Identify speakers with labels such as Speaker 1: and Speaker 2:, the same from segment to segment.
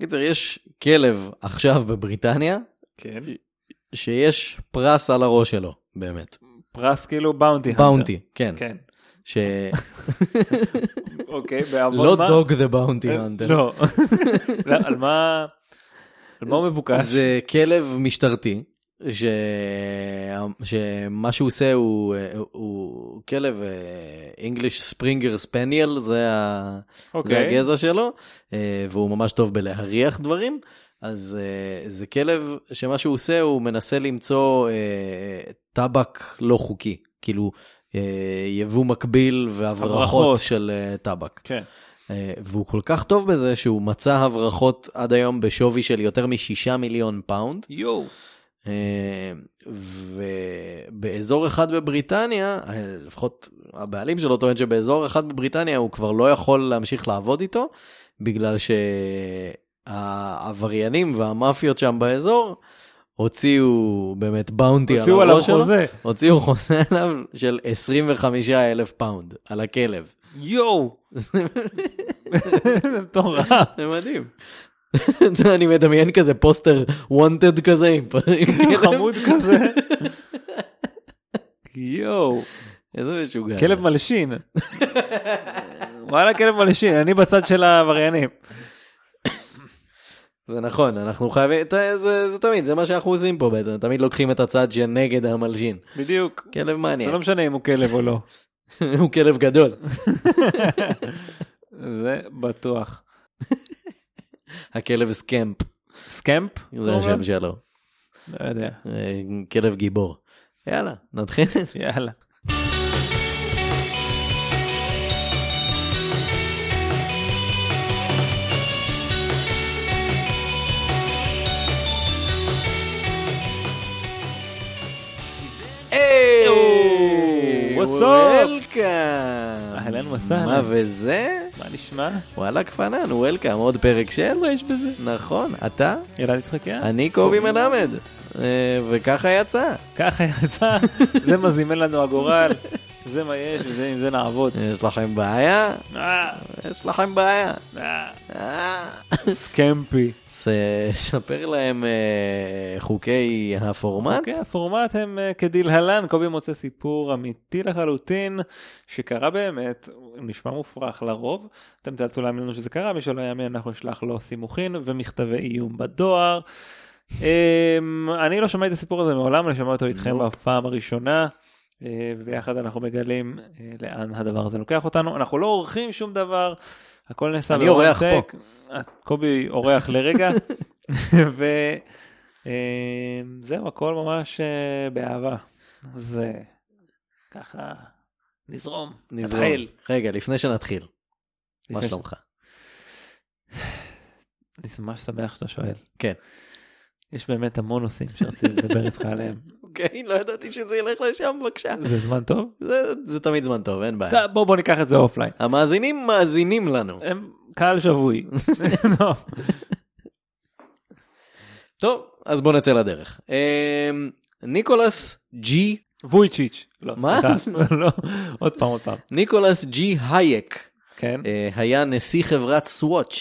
Speaker 1: קיצר, יש כלב עכשיו בבריטניה,
Speaker 2: כן.
Speaker 1: שיש פרס על הראש שלו, באמת.
Speaker 2: פרס כאילו באונטי. הנטר.
Speaker 1: באונטי, כן.
Speaker 2: כן.
Speaker 1: ש...
Speaker 2: אוקיי, בעוון
Speaker 1: לא
Speaker 2: מה?
Speaker 1: דוג דה באונטי
Speaker 2: אה,
Speaker 1: האנטר.
Speaker 2: לא. לא, על מה... על מה הוא מבוקש?
Speaker 1: זה כלב משטרתי, ש... שמה שהוא עושה הוא, הוא כלב אה, English Springer Spaniel, זה, ה... זה
Speaker 2: אוקיי.
Speaker 1: הגזע שלו, אה, והוא ממש טוב בלהריח דברים. אז אה, זה כלב שמה שהוא עושה, הוא מנסה למצוא אה, טבק לא חוקי, כאילו אה, יבוא מקביל
Speaker 2: הברחות.
Speaker 1: והברחות של אה, טבק.
Speaker 2: כן.
Speaker 1: אה, והוא כל כך טוב בזה שהוא מצא הברחות עד היום בשווי של יותר משישה מיליון פאונד.
Speaker 2: יואו.
Speaker 1: אה, ובאזור אחד בבריטניה, אה, לפחות הבעלים שלו טוען שבאזור אחד בבריטניה הוא כבר לא יכול להמשיך לעבוד איתו, בגלל שהעבריינים והמאפיות שם באזור הוציאו באמת באונטי על
Speaker 2: הוציאו עליו
Speaker 1: הראש שלו.
Speaker 2: חוזה.
Speaker 1: הוציאו חוזה עליו של 25 אלף פאונד על הכלב.
Speaker 2: יואו. זה מטורף.
Speaker 1: זה מדהים. אתה יודע, אני מדמיין כזה פוסטר wanted כזה עם פ- עם כלב.
Speaker 2: חמוד כזה. יואו.
Speaker 1: כן. איזה משוגע.
Speaker 2: כלב מלשין. וואלה כלב מלשין, אני בצד של העבריינים.
Speaker 1: זה נכון, אנחנו חייבים, אתה- זה זה תמיד, זה מה שאנחנו עושים פה בעצם, תמיד לוקחים את הצד שנגד המלשין.
Speaker 2: בדיוק.
Speaker 1: כלב
Speaker 2: זה
Speaker 1: מעניין,
Speaker 2: לא משנה אם הוא כלב או לא.
Speaker 1: הוא כלב גדול.
Speaker 2: זה בטוח.
Speaker 1: הכלב סקמפ,
Speaker 2: סקמפ?
Speaker 1: זה השם שלו.
Speaker 2: לא יודע.
Speaker 1: אה, כלב גיבור. יאללה, נתחיל.
Speaker 2: יאללה.
Speaker 1: היי!
Speaker 2: what's up?
Speaker 1: וולקאם!
Speaker 2: אהלן וסהלן.
Speaker 1: מה וזה?
Speaker 2: מה נשמע?
Speaker 1: וואלכ פאנן, וולקאם, עוד פרק של?
Speaker 2: מה יש בזה?
Speaker 1: נכון, אתה?
Speaker 2: אלעד יצחקיה?
Speaker 1: אני קובי מלמד, אה, וככה יצא.
Speaker 2: ככה יצא, זה מה זימן לנו הגורל, זה מה יש וזה עם זה נעבוד.
Speaker 1: יש לכם בעיה?
Speaker 2: אה,
Speaker 1: יש לכם בעיה.
Speaker 2: אה,
Speaker 1: אה.
Speaker 2: סקמפי.
Speaker 1: ס- ספר להם אה, חוקי הפורמט.
Speaker 2: אוקיי, הפורמט הם אה, כדלהלן, קובי מוצא סיפור אמיתי לחלוטין, שקרה באמת, הוא נשמע מופרך לרוב, אתם תאלצו להאמין לנו שזה קרה, מי שלא יאמין אנחנו נשלח לו סימוכין ומכתבי איום בדואר. אמ, אני לא שמעתי את הסיפור הזה מעולם, אני שומע אותו איתכם
Speaker 1: נופ.
Speaker 2: בפעם הראשונה. אה, וביחד אנחנו מגלים אה, לאן הדבר הזה לוקח אותנו. אנחנו לא עורכים שום דבר, הכל נעשה
Speaker 1: אני אורח
Speaker 2: ב-one take. אה, קובי אורח לרגע, וזהו, אמ, הכל ממש אה, באהבה. אז אה, ככה, נזרום,
Speaker 1: נזרום.
Speaker 2: נתחיל.
Speaker 1: רגע, לפני שנתחיל, מה
Speaker 2: לפני
Speaker 1: שלומך?
Speaker 2: אני ממש שמח שאתה שואל.
Speaker 1: כן.
Speaker 2: יש באמת המון נושאים שרציתי לדבר איתך עליהם.
Speaker 1: אוקיי, לא ידעתי שזה ילך לשם, בבקשה.
Speaker 2: זה זמן טוב?
Speaker 1: זה- זה תמיד זמן טוב, אין בעיה.
Speaker 2: טוב, בוא בוא ניקח את זה אופליין.
Speaker 1: המאזינים מאזינים לנו.
Speaker 2: הם קהל שבוי. לא.
Speaker 1: טוב, אז בוא נצא לדרך. אה, ניקולס ג'י
Speaker 2: וויצ'יץ'. לא,
Speaker 1: מה?
Speaker 2: סליחה. לא, עוד פעם, עוד פעם.
Speaker 1: ניקולס ג'י הייק
Speaker 2: כן.
Speaker 1: אה, היה נשיא חברת סוואץ'.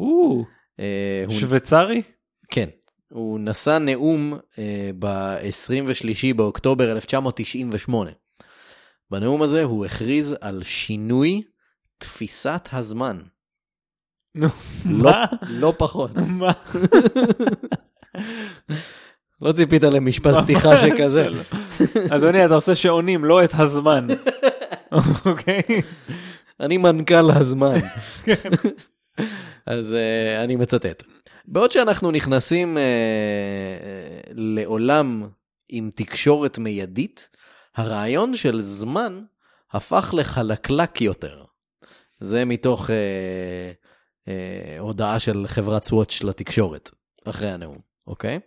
Speaker 2: או,
Speaker 1: אה, הוא-
Speaker 2: שוויצרי?
Speaker 1: כן. הוא נשא נאום אה, ב-23 באוקטובר 1998. בנאום הזה הוא הכריז על שינוי תפיסת הזמן.
Speaker 2: נו,
Speaker 1: לא,
Speaker 2: מה?
Speaker 1: לא פחות.
Speaker 2: מה?
Speaker 1: לא ציפית למשפט פתיחה שכזה.
Speaker 2: אדוני, אתה עושה שעונים, לא את הזמן. אוקיי?
Speaker 1: אני מנכ"ל הזמן. אז אה, אני מצטט. בעוד שאנחנו נכנסים אה, אה, לעולם עם תקשורת מיידית, הרעיון של זמן הפך לחלקלק יותר. זה מתוך אה, אה, הודעה של חברת סוואץ' לתקשורת, אחרי הנאום, אוקיי?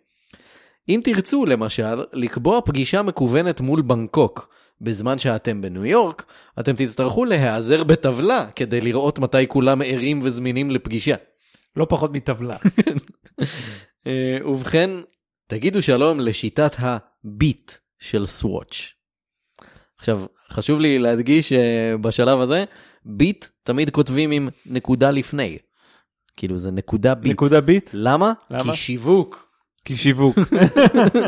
Speaker 1: אם תרצו, למשל, לקבוע פגישה מקוונת מול בנקוק, בזמן שאתם בניו יורק, אתם תצטרכו להיעזר בטבלה כדי לראות מתי כולם ערים וזמינים לפגישה.
Speaker 2: לא פחות מטבלה.
Speaker 1: אה, ובכן, תגידו שלום לשיטת הביט של סוואץ'. עכשיו, חשוב לי להדגיש אה, בשלב הזה, ביט תמיד כותבים עם נקודה לפני. כאילו זה נקודה ביט.
Speaker 2: נקודה ביט?
Speaker 1: למה?
Speaker 2: למה?
Speaker 1: כי שיווק.
Speaker 2: כי שיווק.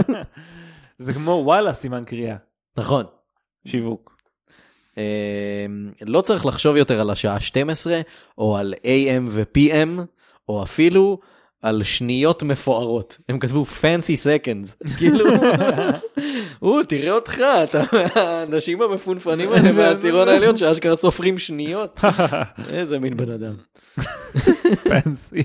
Speaker 2: זה כמו וואלה סימן קריאה.
Speaker 1: נכון.
Speaker 2: שיווק.
Speaker 1: אה, לא צריך לחשוב יותר על השעה 12, או על AM ו-PM, או אפילו על שניות מפוארות. הם כתבו fancy seconds, כאילו, או, תראה אותך, אתה האנשים המפונפנים האלה מהעשירון העליון שאשכרה סופרים שניות. איזה מין בן אדם.
Speaker 2: פנסי.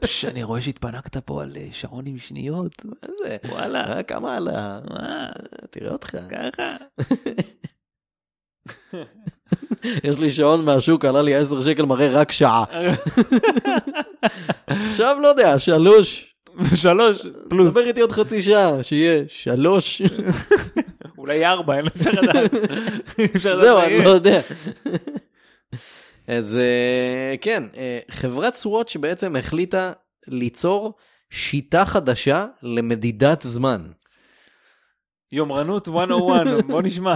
Speaker 2: פש, אני רואה שהתפנקת פה על אה, שרון עם שניות.
Speaker 1: איזה,
Speaker 2: וואלה.
Speaker 1: אה, כמה עלה, אה,
Speaker 2: מה? כן.
Speaker 1: תראה אותך.
Speaker 2: ככה.
Speaker 1: יש לי שעון מהשוק, עלה לי 10 שקל, מראה רק שעה. עכשיו לא יודע, שלוש.
Speaker 2: שלוש פלוס.
Speaker 1: דבר איתי עוד חצי שעה, שיהיה שלוש.
Speaker 2: אולי ארבע, אין אפשר לדעת. אי אפשר לדעת
Speaker 1: זהו,
Speaker 2: מה
Speaker 1: אני
Speaker 2: יהיה.
Speaker 1: לא יודע. אז אה, כן, אה, חברת סוואץ' בעצם החליטה ליצור שיטה חדשה למדידת זמן.
Speaker 2: יומרנות 101, בוא נשמע.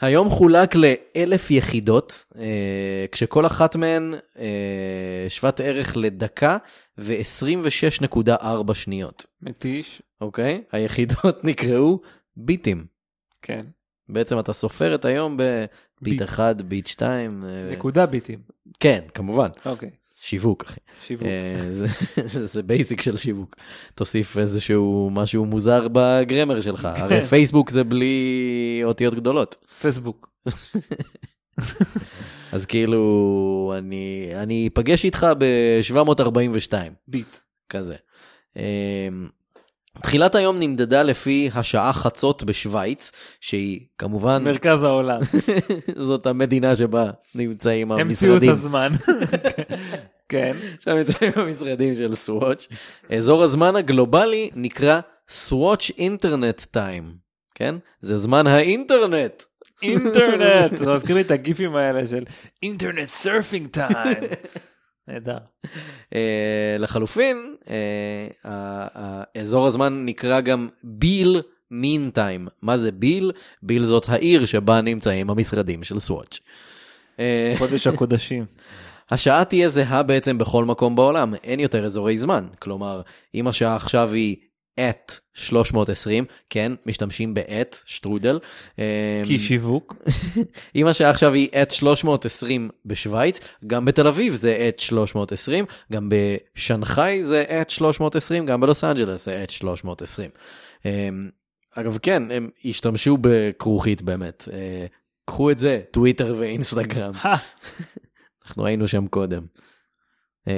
Speaker 1: היום חולק לאלף יחידות, אה, כשכל אחת מהן אה, שוות ערך לדקה ו-26.4 שניות,
Speaker 2: מתיש.
Speaker 1: אוקיי? היחידות נקראו ביטים.
Speaker 2: כן.
Speaker 1: בעצם אתה סופר את היום
Speaker 2: ביט.
Speaker 1: בביט 1, ביט אה, 2,
Speaker 2: נקודה ביטים.
Speaker 1: כן, כמובן,
Speaker 2: אוקיי.
Speaker 1: שיווק, אחי.
Speaker 2: שיווק.
Speaker 1: אה, זה- זה בייסיק של שיווק. תוסיף איזשהו משהו מוזר בגרמר שלך. הרי פייסבוק זה בלי אותיות גדולות.
Speaker 2: פייסבוק.
Speaker 1: אז כאילו, אני אני אפגש איתך ב-742,
Speaker 2: ביט.
Speaker 1: כזה. אה, תחילת היום נמדדה לפי השעה חצות בשוויץ, שהיא כמובן,
Speaker 2: מרכז העולם. לא,
Speaker 1: זאת המדינה שבה נמצאים
Speaker 2: המציאו את
Speaker 1: המשרדים.
Speaker 2: הזמן. כן.
Speaker 1: שם נמצאים המשרדים של סוואץ'. אזור הזמן הגלובלי נקרא סוואץ' אינטרנט טיים, כן? זה זמן האינטרנט.
Speaker 2: אינטרנט. זה מזכיר לי את הגיפים האלה של אינטרנט סרפינג טיים. נהדר.
Speaker 1: אה, לחלופין, אה, ה- ה- אזור הזמן נקרא גם ביל מין טיים. מה זה ביל? ביל זאת העיר שבה נמצאים המשרדים של סוואץ'. אה,
Speaker 2: חודש הקודשים.
Speaker 1: השעה תהיה זהה בעצם בכל מקום בעולם, אין יותר אזורי זמן. כלומר, אם השעה עכשיו היא את 320, כן, משתמשים באת, שטרודל. אה,
Speaker 2: כי שיווק.
Speaker 1: אם השעה עכשיו היא את 320 בשוויץ, גם בתל אביב זה את 320, גם בשנגחאי זה את 320, גם בלוס אנג'לס זה את 320. אה, אגב, כן, הם השתמשו בכרוכית באמת. אה, קחו את זה, טוויטר ואינסטגרם.
Speaker 2: הא,
Speaker 1: אנחנו היינו שם קודם. אמ,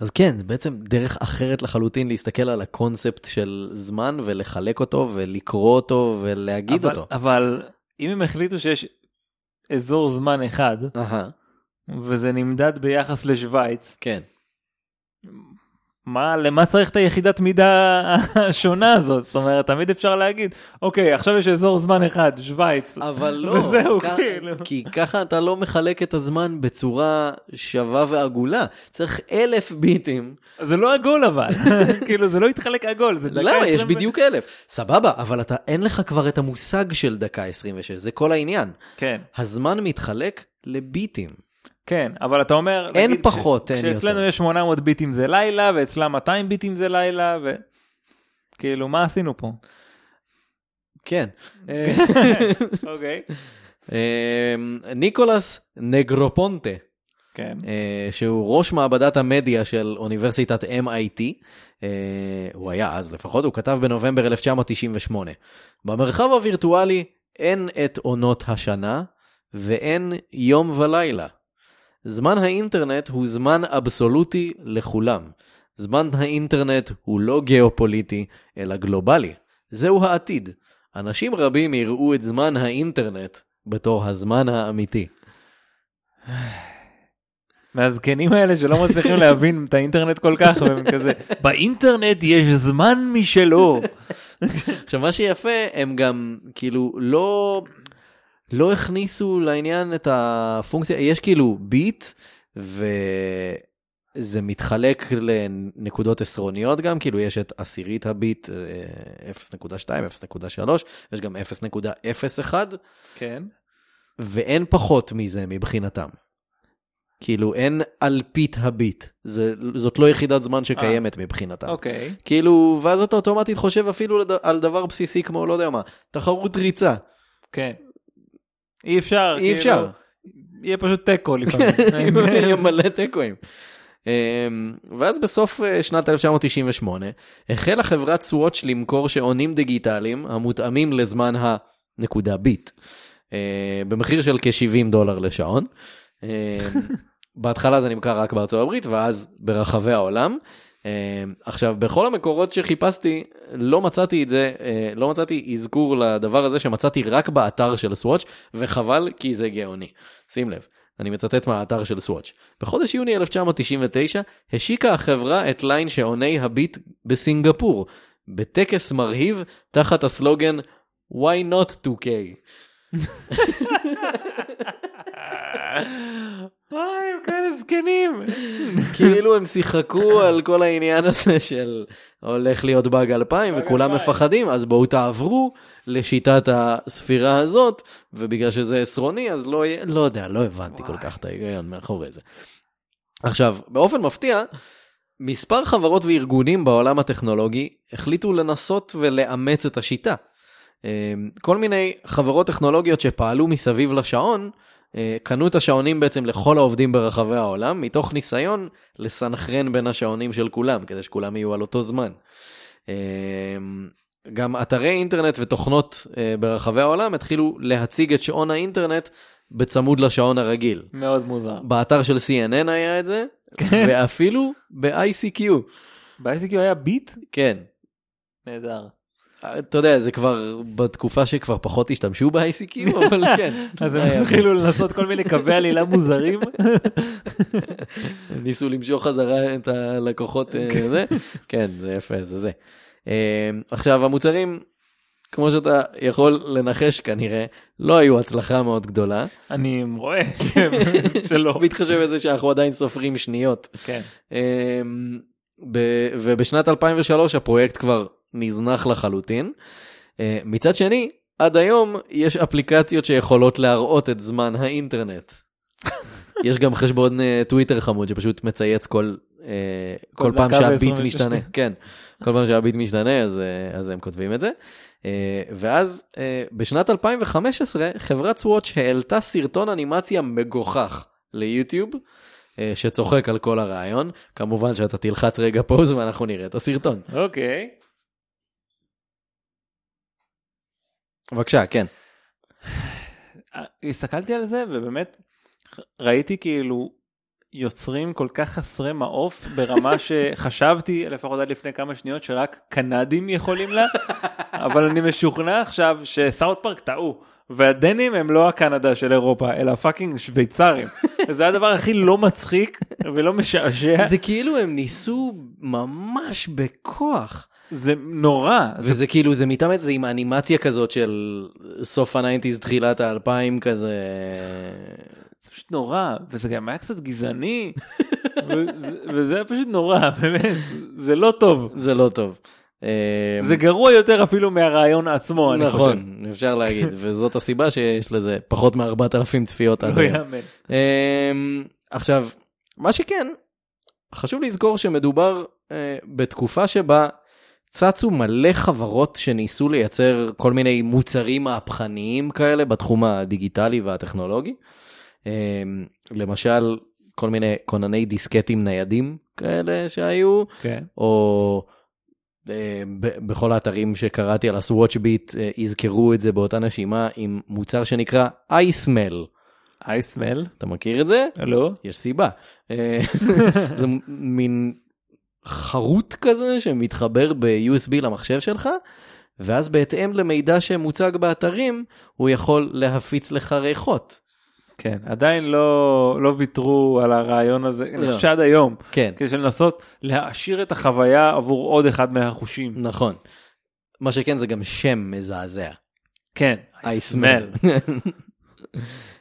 Speaker 1: אז כן, זה בעצם דרך אחרת לחלוטין להסתכל על הקונספט של זמן ולחלק אותו ולקרוא אותו ולהגיד
Speaker 2: אבל-
Speaker 1: אותו.
Speaker 2: אבל אם הם החליטו שיש אזור זמן אחד,
Speaker 1: אהה,
Speaker 2: וזה נמדד ביחס לשוויץ,
Speaker 1: כן.
Speaker 2: מה, למה צריך את היחידת מידה השונה הזאת? זאת אומרת, תמיד אפשר להגיד, אוקיי, עכשיו יש אזור זמן אחד, שוויץ.
Speaker 1: אבל לא,
Speaker 2: וזהו,
Speaker 1: כ-
Speaker 2: כאילו.
Speaker 1: כי ככה אתה לא מחלק את הזמן בצורה שווה ועגולה. צריך אלף ביטים.
Speaker 2: זה לא עגול אבל, כאילו זה לא יתחלק עגול, זה דקה
Speaker 1: למה? יש
Speaker 2: עשרים ו-
Speaker 1: בדיוק אלף. סבבה, אבל אתה, אין לך כבר את המושג של דקה 26, זה כל העניין.
Speaker 2: כן,
Speaker 1: הזמן מתחלק לביטים.
Speaker 2: כן, אבל אתה אומר...
Speaker 1: אין
Speaker 2: נגיד,
Speaker 1: פחות,
Speaker 2: כש-
Speaker 1: אין יותר.
Speaker 2: כשאצלנו יש 800 ביטים זה לילה, ואצלם 200 ביטים זה לילה, ו... כאילו, מה עשינו פה?
Speaker 1: כן. אה,
Speaker 2: אוקיי.
Speaker 1: אמ, ניקולס נגרופונטה,
Speaker 2: כן.
Speaker 1: אה, שהוא ראש מעבדת המדיה של אוניברסיטת MIT, אה, הוא היה אז לפחות, הוא כתב בנובמבר 1998. במרחב הווירטואלי אין את עונות השנה ואין יום ולילה. זמן האינטרנט הוא זמן אבסולוטי לכולם. זמן האינטרנט הוא לא גיאופוליטי, אלא גלובלי. זהו העתיד. אנשים רבים יראו את זמן האינטרנט בתור הזמן האמיתי.
Speaker 2: מהזקנים האלה שלא מצליחים להבין את האינטרנט כל כך, והם כזה, באינטרנט יש זמן משלו.
Speaker 1: עכשיו, מה שיפה, הם גם כאילו לא, לא הכניסו לעניין את הפונקציה, יש כאילו ביט, וזה מתחלק לנקודות עשרוניות גם, כאילו יש את עשירית הביט אה, 0.2, 0.3, יש גם 0.01,
Speaker 2: כן.
Speaker 1: ואין פחות מזה מבחינתם. כאילו, אין אלפית הביט. זה, זאת לא יחידת זמן שקיימת מבחינתם.
Speaker 2: אוקיי.
Speaker 1: כאילו, ואז אתה אוטומטית חושב אפילו לד- על דבר בסיסי כמו, לא יודע מה, תחרות ריצה.
Speaker 2: כן. אי אפשר.
Speaker 1: אי אפשר.
Speaker 2: כאילו, יהיה פשוט תיקו לפעמים.
Speaker 1: יהיו מלא תיקואים. אמ, ואז בסוף אה, שנת 1998 החלה חברת סוואץ' למכור שעונים דיגיטליים המותאמים לזמן הנקודה ביט, אה, במחיר של כ-70 דולר לשעון. אמ, בהתחלה זה נמכר רק בארצות הברית ואז ברחבי העולם. אמ, עכשיו, בכל המקורות שחיפשתי לא מצאתי את זה, אה, לא מצאתי אזכור לדבר הזה שמצאתי רק באתר של סוואץ' וחבל כי זה גאוני. שים לב. אני מצטט מהאתר של סוואץ'. בחודש יוני 1999 השיקה החברה את ליין שעוני הביט בסינגפור, בטקס מרהיב תחת הסלוגן Why not 2K.
Speaker 2: וואי, הם כאלה זקנים.
Speaker 1: כאילו הם שיחקו על כל העניין הזה של הולך להיות באג 2000
Speaker 2: באג
Speaker 1: וכולם
Speaker 2: 2000.
Speaker 1: מפחדים, אז בואו תעברו לשיטת הספירה הזאת, ובגלל שזה עשרוני אז לא יהיה, לא יודע, לא הבנתי כל
Speaker 2: וואי.
Speaker 1: כך את ההיגיון מאחורי זה. עכשיו, באופן מפתיע, מספר חברות וארגונים בעולם הטכנולוגי החליטו לנסות ולאמץ את השיטה. אה, כל מיני חברות טכנולוגיות שפעלו מסביב לשעון, אה, קנו את השעונים בעצם לכל העובדים ברחבי העולם, מתוך ניסיון לסנכרן בין השעונים של כולם, כדי שכולם יהיו על אותו זמן. אה, גם אתרי אינטרנט ותוכנות אה, ברחבי העולם התחילו להציג את שעון האינטרנט בצמוד לשעון הרגיל.
Speaker 2: מאוד מוזר.
Speaker 1: באתר של CNN היה את זה, ואפילו ב-ICQ,
Speaker 2: ב-ICQ היה ביט?
Speaker 1: כן.
Speaker 2: נהדר.
Speaker 1: אתה יודע, זה כבר בתקופה שכבר פחות השתמשו ב-ICQ, אבל כן.
Speaker 2: אז הם
Speaker 1: היה.
Speaker 2: התחילו לנסות כל מיני קווי עלילה מוזרים.
Speaker 1: הם ניסו למשוך חזרה את הלקוחות, אה,
Speaker 2: אוקיי.
Speaker 1: זה. כן, זה יפה, זה זה. אה, עכשיו, המוצרים, כמו שאתה יכול לנחש כנראה, לא היו הצלחה מאוד גדולה,
Speaker 2: אני רואה שהם- שלא.
Speaker 1: בהתחשב בזה שאנחנו עדיין סופרים שניות.
Speaker 2: כן.
Speaker 1: אה, ב- ובשנת 2003 הפרויקט כבר נזנח לחלוטין. אה, מצד שני, עד היום יש אפליקציות שיכולות להראות את זמן האינטרנט. יש גם חשבון אה, טוויטר חמוד שפשוט מצייץ כל, אה, כל
Speaker 2: כל
Speaker 1: פעם
Speaker 2: דקה
Speaker 1: שהביט
Speaker 2: ו-
Speaker 1: משתנה. כן, כל פעם שהביט משתנה אז, אה, אז הם כותבים את זה. אה, ואז אה, בשנת 2015 חברת סוואץ' העלתה סרטון אנימציה מגוחך ליוטיוב. אה, שצוחק על כל הרעיון, כמובן שאתה תלחץ רגע פוז ואנחנו נראה את הסרטון.
Speaker 2: אוקיי.
Speaker 1: בבקשה, כן.
Speaker 2: אה, הסתכלתי על זה ובאמת ראיתי כאילו יוצרים כל כך חסרי מעוף ברמה שחשבתי לפחות עד לפני כמה שניות שרק קנדים יכולים לה אבל אני משוכנע עכשיו שסאוט פארק טעו והדנים הם לא הקנדה של אירופה אלא פאקינג שוויצרים זה הדבר הכי לא מצחיק ולא משעשע
Speaker 1: זה כאילו הם ניסו ממש בכוח.
Speaker 2: זה נורא זה
Speaker 1: וזה כאילו, זה מתאמץ, זה עם אנימציה כזאת של סוף הניינטיז, תחילת האלפיים כזה.
Speaker 2: זה פשוט נורא, וזה גם היה קצת גזעני, ו- וזה היה פשוט נורא, באמת, זה לא טוב.
Speaker 1: זה לא טוב. אה,
Speaker 2: זה גרוע יותר אפילו מהרעיון עצמו, אני חושב.
Speaker 1: נכון, אפשר להגיד, וזאת הסיבה שיש לזה פחות מ-4,000 צפיות עד
Speaker 2: לא
Speaker 1: היום.
Speaker 2: יאמן.
Speaker 1: אמ, עכשיו, מה שכן, חשוב לזכור שמדובר אה, בתקופה שבה צצו מלא חברות שניסו לייצר כל מיני מוצרים מהפכניים כאלה בתחום הדיגיטלי והטכנולוגי. אמ, למשל, כל מיני כונני דיסקטים ניידים כאלה שהיו,
Speaker 2: כן.
Speaker 1: או אה, ב- בכל האתרים שקראתי על הסוואץ' ביט, אה, יזכרו את זה באותה נשימה עם מוצר שנקרא אייסמל.
Speaker 2: I smell,
Speaker 1: אתה מכיר את זה?
Speaker 2: לא?
Speaker 1: יש סיבה. אה, זה מין חרוט כזה שמתחבר ב-USB למחשב שלך, ואז בהתאם למידע שמוצג באתרים, הוא יכול להפיץ לך ריחות.
Speaker 2: כן, עדיין לא, לא ויתרו על הרעיון הזה, אני
Speaker 1: לא.
Speaker 2: חושב שעד היום,
Speaker 1: כן,
Speaker 2: כדי לנסות להעשיר את החוויה עבור עוד אחד מהחושים.
Speaker 1: נכון. מה שכן זה גם שם מזעזע.
Speaker 2: כן, I smell.
Speaker 1: בטח.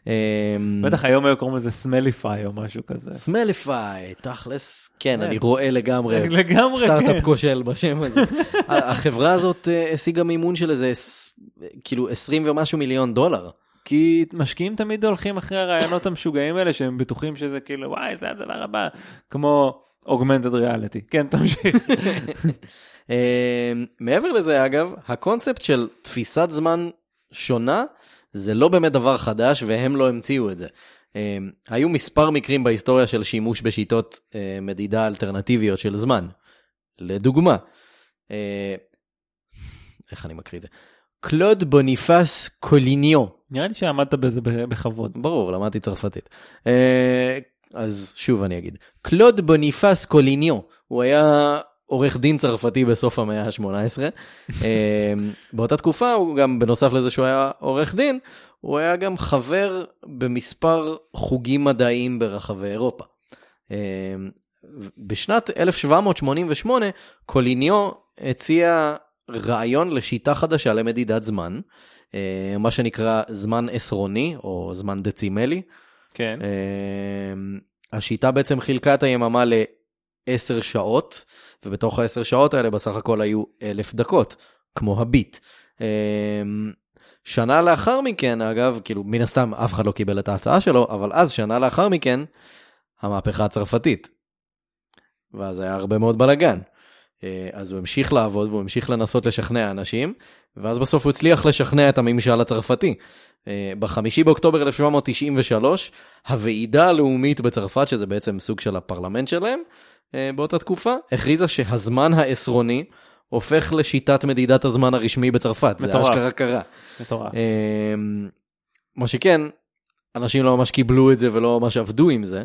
Speaker 1: אמ,
Speaker 2: בטח היום היו קוראים לזה סמליפיי או משהו כזה.
Speaker 1: סמליפיי, תכלס, כן,
Speaker 2: כן.
Speaker 1: אני רואה לגמרי
Speaker 2: לגמרי,
Speaker 1: סטארט-אפ
Speaker 2: כן.
Speaker 1: כושל בשם הזה. ה- החברה הזאת אה, השיגה מימון של איזה, עש- כאילו 20 ומשהו מיליון דולר.
Speaker 2: כי משקיעים תמיד הולכים אחרי הרעיונות המשוגעים האלה שהם בטוחים שזה כאילו וואי זה הדבר הבא כמו אוגמנטד ריאליטי כן תמשיך
Speaker 1: אה, מעבר לזה, אגב, הקונספט של תפיסת זמן שונה, זה לא באמת דבר חדש, והם לא המציאו את זה. אה, היו מספר מקרים בהיסטוריה של שימוש בשיטות אה, מדידה אלטרנטיביות של זמן. לדוגמה, אה, איך אני מקריא את זה? קלוד בוניפס קוליניו.
Speaker 2: נראה לי שעמדת בזה ב- בכבוד
Speaker 1: ברור, למדתי צרפתית. אה, אז שוב אני אגיד. קלוד בוניפס קוליניו, הוא היה עורך דין צרפתי בסוף המאה ה-18. אה, באותה תקופה, הוא גם, בנוסף לזה שהוא היה עורך דין, הוא היה גם חבר במספר חוגים מדעיים ברחבי אירופה. אה, בשנת 1788, קוליניו הציע רעיון לשיטה חדשה למדידת זמן, אה, מה שנקרא זמן עשרוני או זמן דצימלי.
Speaker 2: כן
Speaker 1: אמ, השיטה בעצם חילקה את היממה לעשר שעות, ובתוך העשר שעות האלה בסך הכל היו אלף דקות, כמו הביט. אמ, שנה לאחר מכן, אגב, כאילו, מן הסתם אף אחד לא קיבל את ההצעה שלו, אבל אז, שנה לאחר מכן, המהפכה הצרפתית. ואז היה הרבה מאוד בלאגן. אה, אז הוא המשיך לעבוד והוא המשיך לנסות לשכנע אנשים, ואז בסוף הוא הצליח לשכנע את הממשל הצרפתי. אה, בחמישי באוקטובר 1793, הוועידה הלאומית בצרפת, שזה בעצם סוג של הפרלמנט שלהם, אה, באותה תקופה, הכריזה שהזמן העשרוני הופך לשיטת מדידת הזמן הרשמי בצרפת. זה
Speaker 2: מטורף.
Speaker 1: אשכרה קרה.
Speaker 2: מטורף
Speaker 1: אמ, מה שכן, אנשים לא ממש קיבלו את זה ולא ממש עבדו עם זה.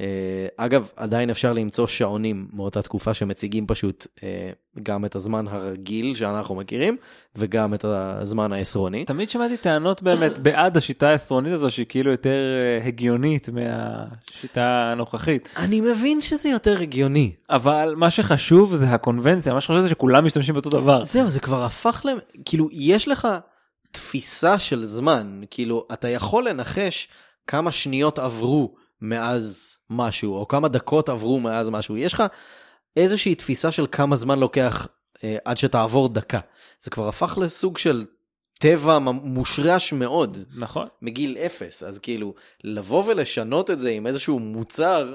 Speaker 1: אה, אגב, עדיין אפשר למצוא שעונים מאותה תקופה שמציגים פשוט אה, גם את הזמן הרגיל שאנחנו מכירים, וגם את הזמן העשרוני.
Speaker 2: תמיד שמעתי טענות באמת בעד השיטה העשרונית הזו שהיא כאילו יותר אה, הגיונית מהשיטה הנוכחית
Speaker 1: אני מבין שזה יותר הגיוני.
Speaker 2: אבל מה שחשוב זה הקונבנציה מה שחשוב זה שכולם משתמשים באותו דבר
Speaker 1: זהו, זה כבר הפך ל... כאילו, יש לך תפיסה של זמן, כאילו, אתה יכול לנחש כמה שניות עברו מאז משהו, או כמה דקות עברו מאז משהו. יש לך איזושהי תפיסה של כמה זמן לוקח אה, עד שתעבור דקה. זה כבר הפך לסוג של טבע ממ- מושרש מאוד.
Speaker 2: נכון
Speaker 1: מגיל אפס, אז כאילו, לבוא ולשנות את זה עם איזשהו מוצר,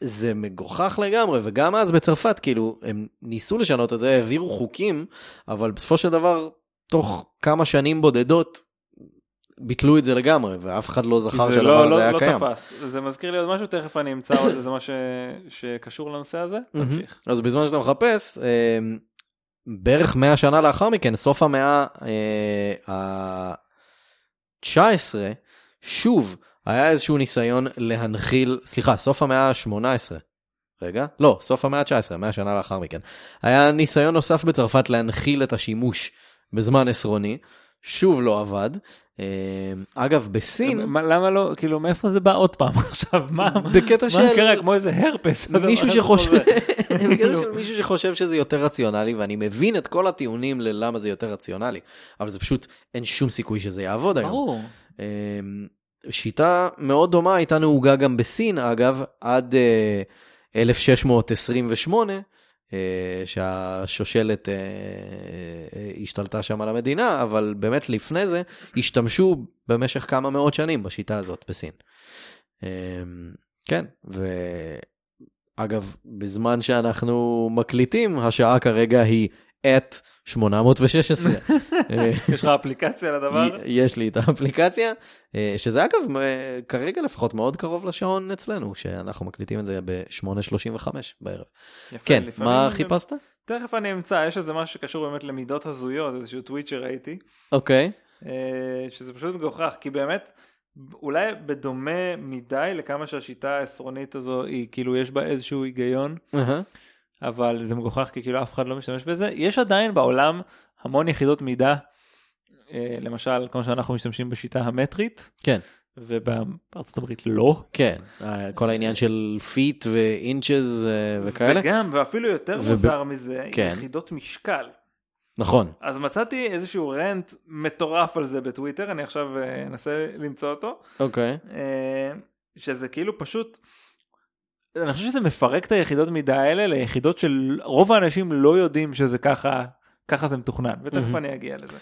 Speaker 1: זה מגוחך לגמרי, וגם אז בצרפת, כאילו, הם ניסו לשנות את זה, העבירו חוקים, אבל בסופו של דבר, תוך כמה שנים בודדות, ביטלו את זה לגמרי, ואף אחד לא
Speaker 2: כי
Speaker 1: זכר
Speaker 2: זה
Speaker 1: שהדבר
Speaker 2: לא,
Speaker 1: הזה
Speaker 2: לא,
Speaker 1: היה
Speaker 2: לא
Speaker 1: קיים.
Speaker 2: תפס. זה מזכיר לי עוד משהו, תכף אני אמצא עוד איזה משהו שקשור לנושא הזה. תמשיך.
Speaker 1: אז בזמן שאתה מחפש, אה, בערך 100 שנה לאחר מכן, סוף המאה אה, ה-19, שוב, היה איזשהו ניסיון להנחיל, סליחה, סוף המאה ה-18, רגע, לא, סוף המאה ה-19, 100 שנה לאחר מכן, היה ניסיון נוסף בצרפת להנחיל את השימוש בזמן עשרוני, שוב לא עבד. אה, אגב, בסין...
Speaker 2: מה- למה לא, כאילו מאיפה זה בא עוד פעם עכשיו? מה
Speaker 1: בקטע
Speaker 2: מה
Speaker 1: של-
Speaker 2: קרה? כמו איזה הרפס. הדבר
Speaker 1: מישהו
Speaker 2: הזה
Speaker 1: שחושב,
Speaker 2: חוזר.
Speaker 1: בקטע של מישהו שחושב שזה יותר רציונלי, ואני מבין את כל הטיעונים ללמה זה יותר רציונלי, אבל זה פשוט, אין שום סיכוי שזה יעבוד היום.
Speaker 2: ברור.
Speaker 1: אמ, שיטה מאוד דומה הייתה נהוגה גם בסין, אגב, עד אה, 1628, אה, שהשושלת אה, אה, השתלטה שם על המדינה, אבל באמת לפני זה השתמשו במשך כמה מאות שנים בשיטה הזאת בסין. אמ, כן, ואגב, בזמן שאנחנו מקליטים, השעה כרגע היא את 816. אה,
Speaker 2: יש לך אפליקציה לדבר?
Speaker 1: י- יש לי את האפליקציה, אה, שזה אגב, אה, כרגע לפחות מאוד קרוב לשעון אצלנו, שאנחנו מקליטים את זה ב-8.35 בערב.
Speaker 2: יפה,
Speaker 1: כן,
Speaker 2: לפעמים
Speaker 1: מה
Speaker 2: גם-
Speaker 1: חיפשת?
Speaker 2: תכף אני אמצא, יש איזה משהו שקשור באמת למידות הזויות, איזשהו טוויט שראיתי.
Speaker 1: אוקיי,
Speaker 2: אה, שזה פשוט מגוחך כי באמת אולי בדומה מדי לכמה שהשיטה העשרונית הזו היא כאילו יש בה איזשהו היגיון
Speaker 1: אהה,
Speaker 2: אבל זה מגוחך כי כאילו אף אחד לא משתמש בזה יש עדיין בעולם המון יחידות מידה אה, למשל כמו שאנחנו משתמשים בשיטה המטרית
Speaker 1: כן,
Speaker 2: ובארצות הברית לא
Speaker 1: כן, אה, כל העניין של פיט ואינצ'ז וכאלה,
Speaker 2: וגם ואפילו יותר
Speaker 1: וב-
Speaker 2: מוזר מזה
Speaker 1: כן.
Speaker 2: יחידות משקל
Speaker 1: נכון.
Speaker 2: אז מצאתי איזשהו רנט מטורף על זה בטוויטר אני עכשיו אה, אנסה למצוא אותו.
Speaker 1: אוקיי,
Speaker 2: אה, שזה כאילו פשוט. אני חושב שזה מפרק את היחידות מידה האלה ליחידות של רוב האנשים לא יודעים שזה ככה ככה זה מתוכנן, ותכף אני אגיע לזה.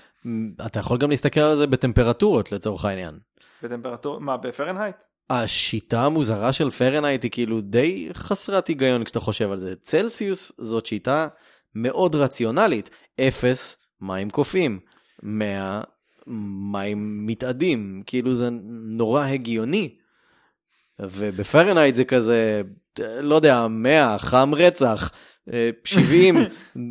Speaker 1: אתה יכול גם להסתכל על זה בטמפרטורות לצורך העניין.
Speaker 2: בטמפרטורה, מה, בפרנהייט?
Speaker 1: השיטה המוזרה של פרנייט היא כאילו די חסרת היגיון כשאתה חושב על זה. צלסיוס זאת שיטה מאוד רציונלית. אפס מים קופים, 100 מים מתאדים, כאילו זה נורא הגיוני. ובפרנייט זה כזה, לא יודע, 100, חם רצח, אה, 70,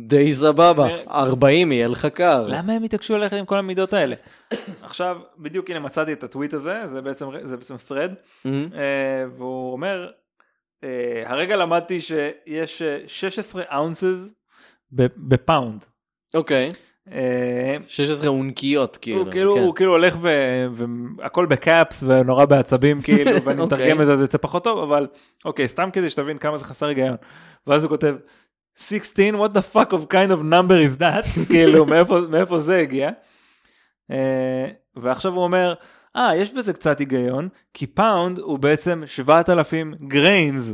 Speaker 1: די סבבה, 40 יהיה לך קר.
Speaker 2: למה הם התעקשו ללכת עם כל המידות האלה? עכשיו, בדיוק הנה מצאתי את הטוויט הזה, זה בעצם, זה בעצם thread,
Speaker 1: אמ,
Speaker 2: אה, והוא אומר, אה, הרגע למדתי שיש אה, 16 אונסס ב- בפאונד.
Speaker 1: אוקיי,
Speaker 2: אה,
Speaker 1: 16 אונקיות כאילו.
Speaker 2: הוא כאילו,
Speaker 1: כן.
Speaker 2: הוא כאילו הולך ו- והכל בקאפס ונורא בעצבים כאילו ואני מתרגם
Speaker 1: אוקיי.
Speaker 2: את זה אז יוצא פחות טוב אבל אוקיי סתם כדי שתבין כמה זה חסר היגיון. ואז הוא כותב 16 what the fuck of kind of number is that כאילו מאיפה, מאיפה זה הגיע. אה, ועכשיו הוא אומר אה יש בזה קצת היגיון כי פאונד הוא בעצם 7,000 גריינס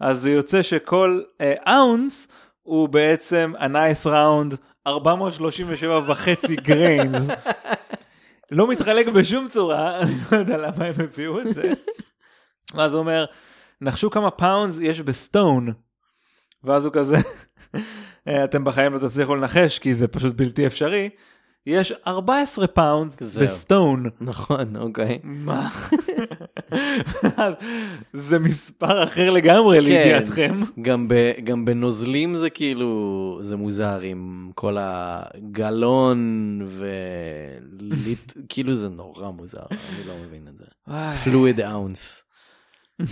Speaker 2: אז זה יוצא שכל אה, אאונס הוא בעצם הנייס ראונד 437 וחצי גריינס. לא מתחלק בשום צורה, אני לא יודע למה הם הביאו את זה. ואז הוא אומר, נחשו כמה פאונדס יש בסטון. ואז הוא כזה, "אה, אתם בחיים לא תצליחו לנחש כי זה פשוט בלתי אפשרי. יש 14 פאונדס
Speaker 1: זהו.
Speaker 2: בסטון.
Speaker 1: נכון, אוקיי.
Speaker 2: מה? אז זה מספר אחר לגמרי לידיעתכם.
Speaker 1: גם, ב, גם בנוזלים זה כאילו, זה מוזר עם כל הגלון וליט, כאילו זה נורא מוזר, אני לא מבין את זה.
Speaker 2: וואי.
Speaker 1: פלואיד אאונס.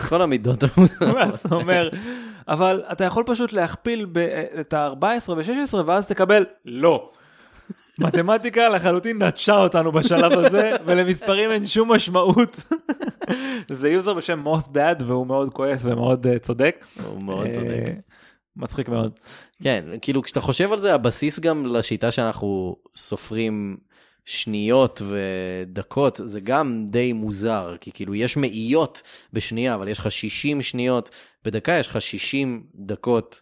Speaker 1: כל המידות המוזרות.
Speaker 2: ואז הוא אומר, אבל אתה יכול פשוט להכפיל ב- את ה-14 ו-16 ואז תקבל לא. מתמטיקה לחלוטין נטשה אותנו בשלב הזה, ולמספרים אין שום משמעות. זה יוזר בשם מות דאד והוא מאוד כועס ומאוד אה, צודק.
Speaker 1: הוא מאוד צודק.
Speaker 2: אה, מצחיק מאוד.
Speaker 1: כן, כאילו כשאתה חושב על זה, הבסיס גם לשיטה שאנחנו סופרים שניות ודקות, זה גם די מוזר, כי כאילו יש מאיות בשנייה, אבל יש לך 60 שניות בדקה, יש לך 60 דקות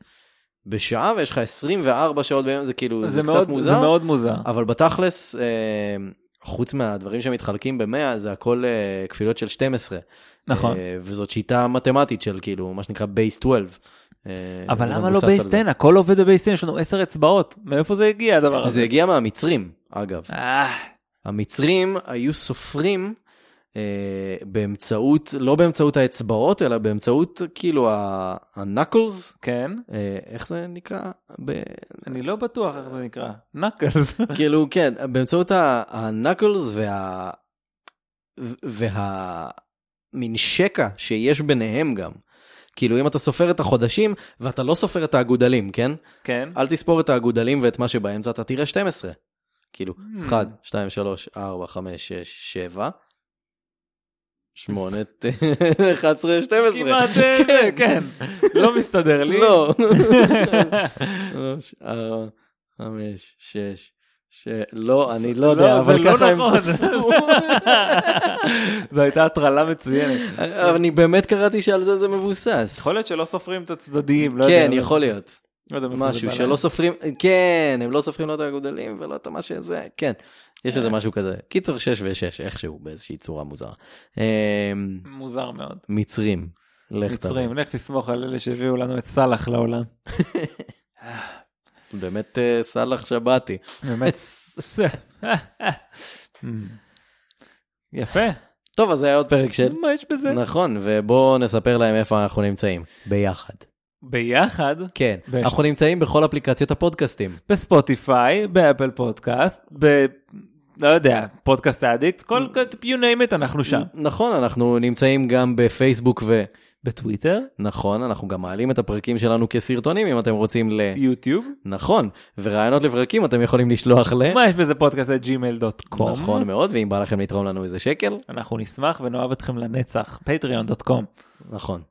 Speaker 1: בשעה, ויש לך 24 שעות ביום, זה כאילו, זה,
Speaker 2: זה
Speaker 1: קצת
Speaker 2: מאוד-
Speaker 1: מוזר.
Speaker 2: זה מאוד מוזר.
Speaker 1: אבל בתכלס, אה, חוץ מהדברים שמתחלקים ב-100, זה הכל אה, כפילות של 12.
Speaker 2: נכון.
Speaker 1: אה, וזאת שיטה מתמטית של כאילו, מה שנקרא בייס 12. אה,
Speaker 2: אבל
Speaker 1: וזה
Speaker 2: למה לא
Speaker 1: מבוסס על זה.
Speaker 2: בייסטיין? הכל עובד בבייסטיין, יש לנו 10 אצבעות. מאיפה זה הגיע הדבר
Speaker 1: זה
Speaker 2: הזה?
Speaker 1: הגיע מהמצרים, אגב.
Speaker 2: אה,
Speaker 1: המצרים היו סופרים אה, באמצעות, לא באמצעות האצבעות, אלא באמצעות כאילו הנקלס,
Speaker 2: כן,
Speaker 1: אה, איך זה נקרא? ב...
Speaker 2: אני לא בטוח איך זה נקרא. נקלס.
Speaker 1: כאילו, כן, באמצעות הנקלס וה... והמין שקע שיש ביניהם גם. כאילו, אם אתה סופר את החודשים, ואתה לא סופר את האגודלים, כן?
Speaker 2: כן.
Speaker 1: אל תספור את האגודלים ואת מה שבאמצע, אתה תראה 12. כאילו,
Speaker 2: Hmm.
Speaker 1: 1, 2, 3, 4, 5, 6, 7, 8, 11, 12.
Speaker 2: כמעט, אה, כן, לא מסתדר לי.
Speaker 1: לא. 3, 4, 5, 6, לא, אני לא יודע,
Speaker 2: זה
Speaker 1: אבל
Speaker 2: לא
Speaker 1: ככה הם
Speaker 2: נכון.
Speaker 1: צפו.
Speaker 2: זו הייתה הטרלה מצוינת.
Speaker 1: אבל אני באמת קראתי שעל זה זה מבוסס.
Speaker 2: יכול להיות שלא סופרים את הצדדים, לא
Speaker 1: כן,
Speaker 2: יודע.
Speaker 1: יכול להיות.
Speaker 2: לא יודע מאיפה זה
Speaker 1: משהו
Speaker 2: בא
Speaker 1: שלא
Speaker 2: להם.
Speaker 1: סופרים, כן, הם לא סופרים לא את האגודלים ולא את מה שזה, כן. יש איזה משהו כזה. קיצר 6 ו-6, איכשהו, באיזושהי צורה מוזרה. אמ,
Speaker 2: מוזר מאוד.
Speaker 1: מצרים. לך תראה.
Speaker 2: מצרים, לך תסמוך על אלה שהביאו לנו את סאלח לעולם.
Speaker 1: באמת אה, סאלח שבתי.
Speaker 2: באמת. ס- יפה,
Speaker 1: טוב, אז זה היה עוד פרק של...
Speaker 2: מה יש בזה?
Speaker 1: נכון, ובואו נספר להם איפה אנחנו נמצאים. ביחד.
Speaker 2: ביחד,
Speaker 1: כן,
Speaker 2: בש-
Speaker 1: אנחנו נמצאים בכל אפליקציות הפודקאסטים.
Speaker 2: בספוטיפיי, באפל פודקאסט, ב... לא יודע, פודקאסט אדיקט, כל... you name it, אנחנו שם.
Speaker 1: נכון, אנחנו נמצאים גם בפייסבוק ו...
Speaker 2: בטוויטר,
Speaker 1: נכון, אנחנו גם מעלים את הפרקים שלנו כסרטונים, אם אתם רוצים ל...
Speaker 2: כן. יוטיוב,
Speaker 1: נכון, ורעיונות לפרקים אתם יכולים לשלוח ל...
Speaker 2: מה יש בזה פודקאסט את gmail.com.
Speaker 1: נכון מאוד, ואם בא לכם לתרום לנו איזה שקל,
Speaker 2: אנחנו נשמח ונאהב אתכם לנצח, patreon.com.
Speaker 1: נכון.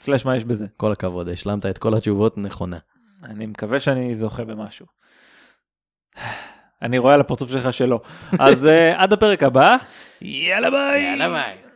Speaker 2: סלש מה יש בזה.
Speaker 1: כל הכבוד, השלמת את כל התשובות נכונה.
Speaker 2: אני מקווה שאני זוכה במשהו. אני רואה על הפרצוף שלך שלא. אז אה, עד הפרק הבא, יאללה ביי.
Speaker 1: יאללה ביי.